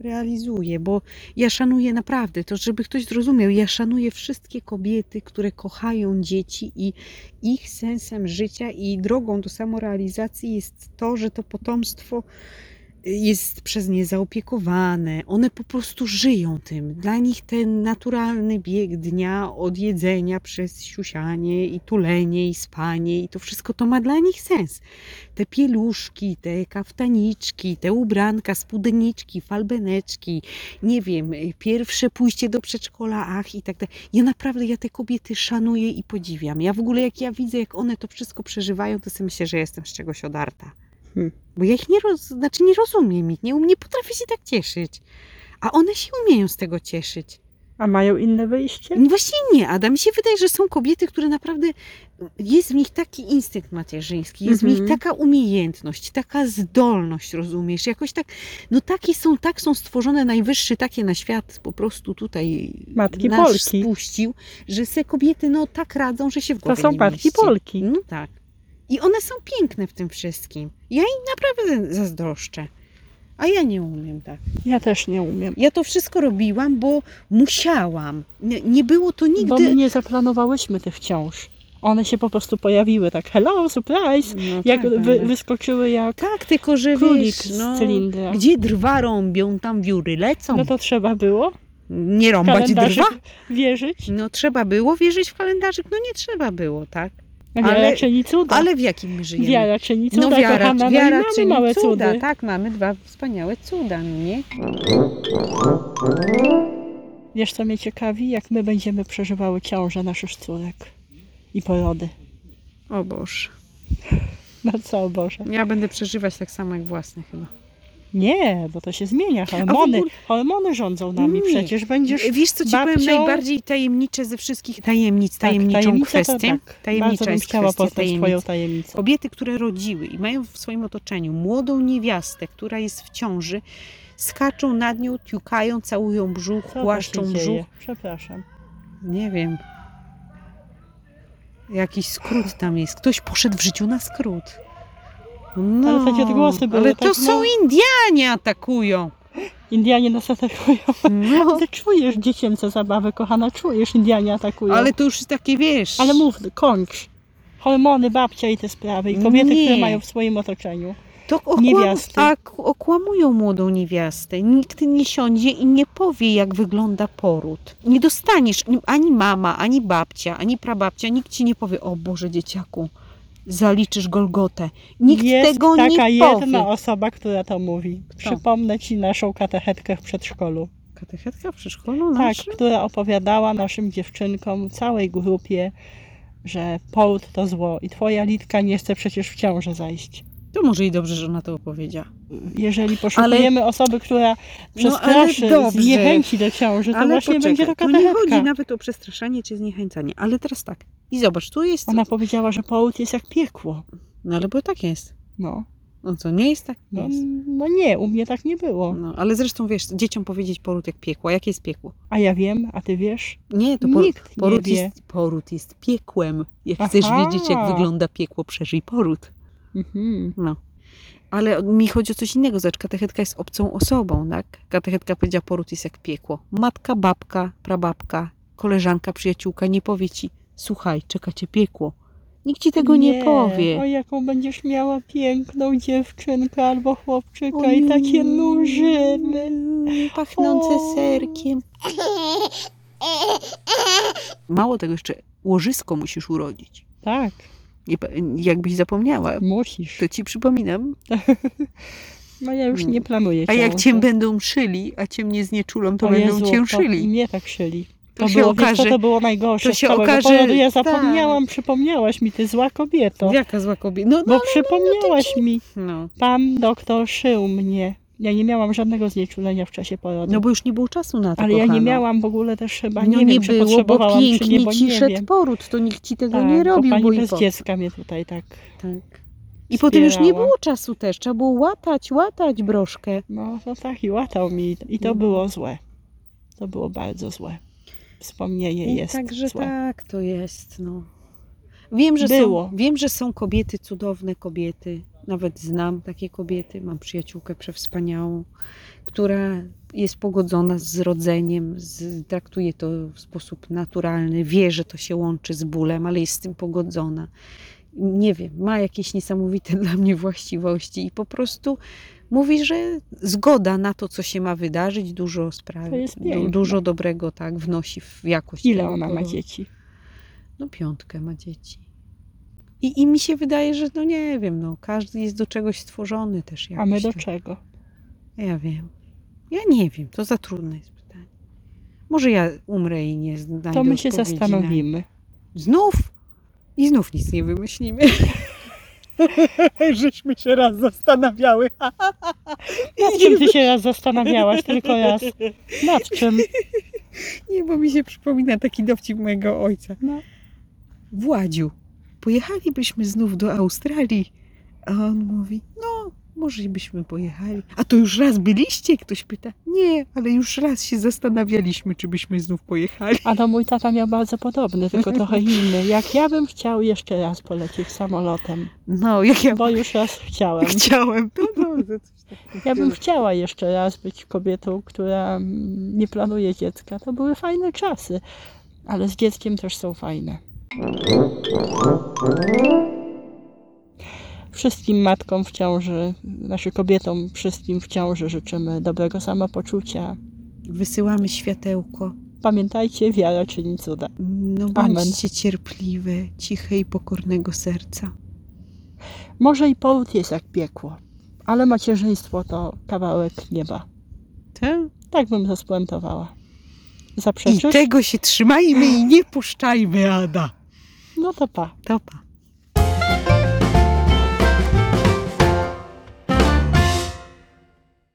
[SPEAKER 2] realizuję, bo ja szanuję naprawdę to, żeby ktoś zrozumiał. Ja szanuję wszystkie kobiety, które kochają dzieci i ich sensem życia i drogą do samorealizacji jest to, że to potomstwo jest przez nie zaopiekowane. One po prostu żyją tym. Dla nich ten naturalny bieg dnia od jedzenia przez siusianie i tulenie i spanie i to wszystko to ma dla nich sens. Te pieluszki, te kaftaniczki, te ubranka, spódniczki, falbeneczki, nie wiem, y, pierwsze pójście do przedszkola, ach i tak dalej. Ja naprawdę, ja te kobiety szanuję i podziwiam. Ja w ogóle jak ja widzę, jak one to wszystko przeżywają, to sobie myślę, że jestem z czegoś odarta.
[SPEAKER 1] Hmm.
[SPEAKER 2] Bo ja ich nie, roz, znaczy nie rozumiem ich, nie, um- nie potrafię się tak cieszyć. A one się umieją z tego cieszyć.
[SPEAKER 1] A mają inne wyjście?
[SPEAKER 2] Właśnie nie, Ada. Mi się wydaje, że są kobiety, które naprawdę jest w nich taki instynkt macierzyński, jest w nich
[SPEAKER 1] Mhm.
[SPEAKER 2] taka umiejętność, taka zdolność, rozumiesz? Jakoś tak, no takie są, tak są stworzone najwyższy, takie na świat po prostu tutaj
[SPEAKER 1] Matki
[SPEAKER 2] nasz
[SPEAKER 1] Polki.
[SPEAKER 2] spuścił, że se kobiety no tak radzą, że się w
[SPEAKER 1] To
[SPEAKER 2] głowie
[SPEAKER 1] są
[SPEAKER 2] nie
[SPEAKER 1] matki
[SPEAKER 2] mieści.
[SPEAKER 1] Polki.
[SPEAKER 2] No tak. I one są piękne w tym wszystkim. Ja im naprawdę zazdroszczę. A ja nie umiem tak.
[SPEAKER 1] Ja też nie umiem.
[SPEAKER 2] Ja to wszystko robiłam, bo musiałam. Nie, nie było to nigdy.
[SPEAKER 1] Bo my nie zaplanowałyśmy tych ciąż. One się po prostu pojawiły tak, hello, surprise!
[SPEAKER 2] No
[SPEAKER 1] Jak
[SPEAKER 2] tak,
[SPEAKER 1] wy,
[SPEAKER 2] ale-
[SPEAKER 1] wyskoczyły jak
[SPEAKER 2] tak, tylko że
[SPEAKER 1] królik
[SPEAKER 2] wiesz,
[SPEAKER 1] z
[SPEAKER 2] no,
[SPEAKER 1] cylindra.
[SPEAKER 2] gdzie drwa rąbią, tam wióry lecą.
[SPEAKER 1] No to trzeba było
[SPEAKER 2] nie
[SPEAKER 1] w
[SPEAKER 2] rąbać drwa.
[SPEAKER 1] kalendarzyk wierzyć,
[SPEAKER 2] No trzeba było wierzyć w kalendarzyk, no nie trzeba było, tak?
[SPEAKER 1] wiara
[SPEAKER 2] Ale-
[SPEAKER 1] czyni cuda.
[SPEAKER 2] Ale w jakim my żyjemy?
[SPEAKER 1] wiara czyni cuda,
[SPEAKER 2] no wiara,
[SPEAKER 1] kochana, no i
[SPEAKER 2] wiara
[SPEAKER 1] mamy
[SPEAKER 2] czyni
[SPEAKER 1] małe
[SPEAKER 2] cuda,
[SPEAKER 1] cudy.
[SPEAKER 2] tak, mamy dwa wspaniałe cuda, no nie?
[SPEAKER 1] Wiesz co mnie ciekawi? Jak my będziemy przeżywały ciąże naszych córek i porody.
[SPEAKER 2] O Boże,
[SPEAKER 1] No co Boże.
[SPEAKER 2] ja będę przeżywać tak samo jak własne chyba.
[SPEAKER 1] Nie, bo to się zmienia. Hormony,
[SPEAKER 2] ogóle-
[SPEAKER 1] hormony rządzą nami.
[SPEAKER 2] Nie.
[SPEAKER 1] Przecież będziesz
[SPEAKER 2] E, Wiesz, co ci powiem
[SPEAKER 1] babcią-
[SPEAKER 2] najbardziej tajemnicze ze wszystkich tajemnic,
[SPEAKER 1] Tak,
[SPEAKER 2] tajemniczą
[SPEAKER 1] tajemnica to
[SPEAKER 2] kwestię?
[SPEAKER 1] Tak. Bardzo
[SPEAKER 2] Tajemnicza
[SPEAKER 1] bym
[SPEAKER 2] jest
[SPEAKER 1] chciała
[SPEAKER 2] kwestia
[SPEAKER 1] poznać twoją
[SPEAKER 2] tajemnic.
[SPEAKER 1] tajemnicę.
[SPEAKER 2] Kobiety, które rodziły i mają w swoim otoczeniu młodą niewiastę, która jest w ciąży, skaczą nad nią, tiukają, całują brzuch,
[SPEAKER 1] Co
[SPEAKER 2] płaszczą
[SPEAKER 1] to się dzieje?
[SPEAKER 2] brzuch.
[SPEAKER 1] Przepraszam.
[SPEAKER 2] Nie wiem. Jakiś skrót tam jest. Ktoś poszedł w życiu na skrót. No,
[SPEAKER 1] Ale takie odgłosy były,
[SPEAKER 2] ale
[SPEAKER 1] tak,
[SPEAKER 2] to są
[SPEAKER 1] no.
[SPEAKER 2] Indianie
[SPEAKER 1] [LAUGHS]
[SPEAKER 2] atakują.
[SPEAKER 1] Indianie nas atakują.
[SPEAKER 2] No,
[SPEAKER 1] Ty czujesz dziecięce zabawy, kochana, czujesz, Indianie atakują.
[SPEAKER 2] ale to już jest takie, wiesz...
[SPEAKER 1] Ale mów, kończ. Hormony, babcia i te sprawy. I kobiety,
[SPEAKER 2] Nie.
[SPEAKER 1] które mają w swoim otoczeniu.
[SPEAKER 2] To okłam...
[SPEAKER 1] Niewiasty.
[SPEAKER 2] A, k- okłamują młodą niewiastę. Nikt nie siądzie i nie powie, jak wygląda poród. Nie dostaniesz ani mama, ani babcia, ani prababcia. Nikt ci nie powie, o Boże, dzieciaku, zaliczysz Golgotę. Nikt
[SPEAKER 1] Jest
[SPEAKER 2] tego
[SPEAKER 1] taka
[SPEAKER 2] nie powie.
[SPEAKER 1] jedna osoba, która to mówi. Przypomnę ci naszą katechetkę w przedszkolu.
[SPEAKER 2] Katechetka w przedszkolu
[SPEAKER 1] Tak, która opowiadała naszym dziewczynkom, całej grupie, że połód to zło i twoja Litka nie chce przecież w ciążę zajść.
[SPEAKER 2] To może i dobrze, że ona to opowiedziała.
[SPEAKER 1] jeżeli poszukujemy osoby, która przestraszy,
[SPEAKER 2] ale No, dobrze.
[SPEAKER 1] z niechęci do ciąży, to właśnie będzie to
[SPEAKER 2] tu nie chodzi
[SPEAKER 1] katechetka.
[SPEAKER 2] nawet o przestraszanie czy zniechęcanie, ale teraz tak. I zobacz, tu jest...
[SPEAKER 1] Ona powiedziała, że połód jest jak piekło.
[SPEAKER 2] No ale bo tak jest.
[SPEAKER 1] No.
[SPEAKER 2] No co, nie jest tak? Nie
[SPEAKER 1] No,
[SPEAKER 2] jest.
[SPEAKER 1] no nie, u mnie tak nie było.
[SPEAKER 2] No, ale zresztą wiesz, dzieciom powiedzieć poród jak piekło. Jakie jest piekło?
[SPEAKER 1] A ja wiem, a ty wiesz?
[SPEAKER 2] Nie, to por-
[SPEAKER 1] Nikt nie
[SPEAKER 2] poród,
[SPEAKER 1] wie.
[SPEAKER 2] jest, poród jest piekłem. Jak
[SPEAKER 1] Aha.
[SPEAKER 2] chcesz wiedzieć, jak wygląda piekło, przeżyj poród.
[SPEAKER 1] Mhm.
[SPEAKER 2] No. Ale mi chodzi o coś innego, zobacz, katechetka jest obcą osobą, tak? Katechetka powiedziała, poród jest jak piekło. Matka, babka, prababka, koleżanka, przyjaciółka nie powie ci, słuchaj, czeka cię piekło. Nikt ci tego
[SPEAKER 1] O
[SPEAKER 2] nie, powie.
[SPEAKER 1] jaką będziesz miała piękną dziewczynkę albo chłopczyka
[SPEAKER 2] Oj,
[SPEAKER 1] i takie nużyny.
[SPEAKER 2] mm, Pachnące
[SPEAKER 1] O.
[SPEAKER 2] serkiem. Mało tego jeszcze, łożysko musisz urodzić.
[SPEAKER 1] Tak,
[SPEAKER 2] Nie pa- Jakbyś zapomniała,
[SPEAKER 1] musisz.
[SPEAKER 2] to ci przypominam.
[SPEAKER 1] No ja już nie planuję
[SPEAKER 2] A jak
[SPEAKER 1] ciąży.
[SPEAKER 2] cię będą szyli, a cię mnie znieczulą, to
[SPEAKER 1] O
[SPEAKER 2] będą
[SPEAKER 1] Jezu,
[SPEAKER 2] cię
[SPEAKER 1] to
[SPEAKER 2] szyli.
[SPEAKER 1] Mnie tak szyli.
[SPEAKER 2] To
[SPEAKER 1] To,
[SPEAKER 2] się
[SPEAKER 1] było, wiesz, co
[SPEAKER 2] okaże-
[SPEAKER 1] to było najgorsze.
[SPEAKER 2] to się
[SPEAKER 1] z całego
[SPEAKER 2] okaże-
[SPEAKER 1] porodu. Ja
[SPEAKER 2] tak.
[SPEAKER 1] zapomniałam, przypomniałaś mi, ty zła kobieto.
[SPEAKER 2] Jaka zła kobieta. No,
[SPEAKER 1] Bo
[SPEAKER 2] no,
[SPEAKER 1] przypomniałaś mi,
[SPEAKER 2] no.
[SPEAKER 1] pan doktor szył mnie. Ja nie miałam żadnego znieczulenia w czasie porodu.
[SPEAKER 2] No bo już nie było czasu na to.
[SPEAKER 1] ale ja nie
[SPEAKER 2] kochana.
[SPEAKER 1] miałam w ogóle też chyba,
[SPEAKER 2] No
[SPEAKER 1] nie,
[SPEAKER 2] nie,
[SPEAKER 1] wiem, czy
[SPEAKER 2] było, bo
[SPEAKER 1] potrzebowałam, czy
[SPEAKER 2] pięknie
[SPEAKER 1] nie, bo
[SPEAKER 2] ci
[SPEAKER 1] nie
[SPEAKER 2] szedł
[SPEAKER 1] wiem.
[SPEAKER 2] poród, to nikt ci tego
[SPEAKER 1] Tak,
[SPEAKER 2] nie
[SPEAKER 1] bo
[SPEAKER 2] robił.
[SPEAKER 1] pani
[SPEAKER 2] bo i
[SPEAKER 1] bez
[SPEAKER 2] po-
[SPEAKER 1] dziecka mnie tutaj tak,
[SPEAKER 2] Tak. I potem już nie
[SPEAKER 1] wspierała.
[SPEAKER 2] było czasu też, trzeba było łatać, łatać broszkę.
[SPEAKER 1] no, no tak i łatał mi i to
[SPEAKER 2] Mhm.
[SPEAKER 1] było złe. To było bardzo złe. Wspomnienie
[SPEAKER 2] I
[SPEAKER 1] jest
[SPEAKER 2] Także
[SPEAKER 1] złe.
[SPEAKER 2] tak to jest. No. Wiem, że
[SPEAKER 1] Było.
[SPEAKER 2] Są, wiem, że są kobiety, cudowne kobiety. Nawet znam takie kobiety. Mam przyjaciółkę przewspaniałą, która jest pogodzona z rodzeniem, z, traktuje to w sposób naturalny, wie, że to się łączy z bólem, ale jest z tym pogodzona. Nie wiem, ma jakieś niesamowite dla mnie właściwości i po prostu mówi, że zgoda na to, co się ma wydarzyć, dużo spraw,
[SPEAKER 1] To jest
[SPEAKER 2] du,
[SPEAKER 1] piękne.
[SPEAKER 2] dużo dobrego tak wnosi w jakość.
[SPEAKER 1] Ile
[SPEAKER 2] tego
[SPEAKER 1] ona ma
[SPEAKER 2] porodu.
[SPEAKER 1] dzieci?
[SPEAKER 2] No piątkę ma dzieci. I, I mi się wydaje, że no nie wiem, no każdy jest do czegoś stworzony też jakoś.
[SPEAKER 1] A my do
[SPEAKER 2] tak.
[SPEAKER 1] czego?
[SPEAKER 2] Ja wiem. Ja nie wiem, to za trudne jest pytanie. Może ja umrę i nie znajdę
[SPEAKER 1] To my się
[SPEAKER 2] odpowiedzi na-
[SPEAKER 1] zastanowimy.
[SPEAKER 2] Znów? I znów nic nie wymyślimy. [LAUGHS] Żeśmy się raz zastanawiały.
[SPEAKER 1] Nad czym ty się raz zastanawiałaś, tylko raz.
[SPEAKER 2] [LAUGHS]
[SPEAKER 1] Nad czym?
[SPEAKER 2] Nie, bo mi się przypomina taki dowcip mojego ojca.
[SPEAKER 1] No.
[SPEAKER 2] Władziu, pojechalibyśmy znów do Australii. A on mówi, no, może byśmy pojechali. A to już raz byliście? Ktoś pyta. Nie, ale już raz się zastanawialiśmy, czy byśmy znów pojechali.
[SPEAKER 1] A no mój tata miał bardzo podobny, tylko trochę inny. Jak ja bym chciał jeszcze raz polecieć samolotem,
[SPEAKER 2] No, jak ja
[SPEAKER 1] bo już raz chciałem.
[SPEAKER 2] chciałem. No, To dobrze. Coś takiego.
[SPEAKER 1] Ja bym chciała jeszcze raz być kobietą, która mm, nie planuje dziecka. To były fajne czasy, ale z dzieckiem też są fajne. Wszystkim matkom w ciąży, znaczy kobietom wszystkim w ciąży życzymy dobrego samopoczucia.
[SPEAKER 2] Wysyłamy światełko.
[SPEAKER 1] Pamiętajcie, wiara czyni cuda.
[SPEAKER 2] No,
[SPEAKER 1] Amen.
[SPEAKER 2] bądźcie cierpliwe, ciche i pokornego serca.
[SPEAKER 1] Może i połód jest jak piekło, ale macierzyństwo to kawałek nieba.
[SPEAKER 2] Tak?
[SPEAKER 1] Tak bym to spuentowała.
[SPEAKER 2] I
[SPEAKER 1] Zaprzeczysz?
[SPEAKER 2] tego się trzymajmy i nie puszczajmy, Ada.
[SPEAKER 1] No to pa.
[SPEAKER 2] To pa.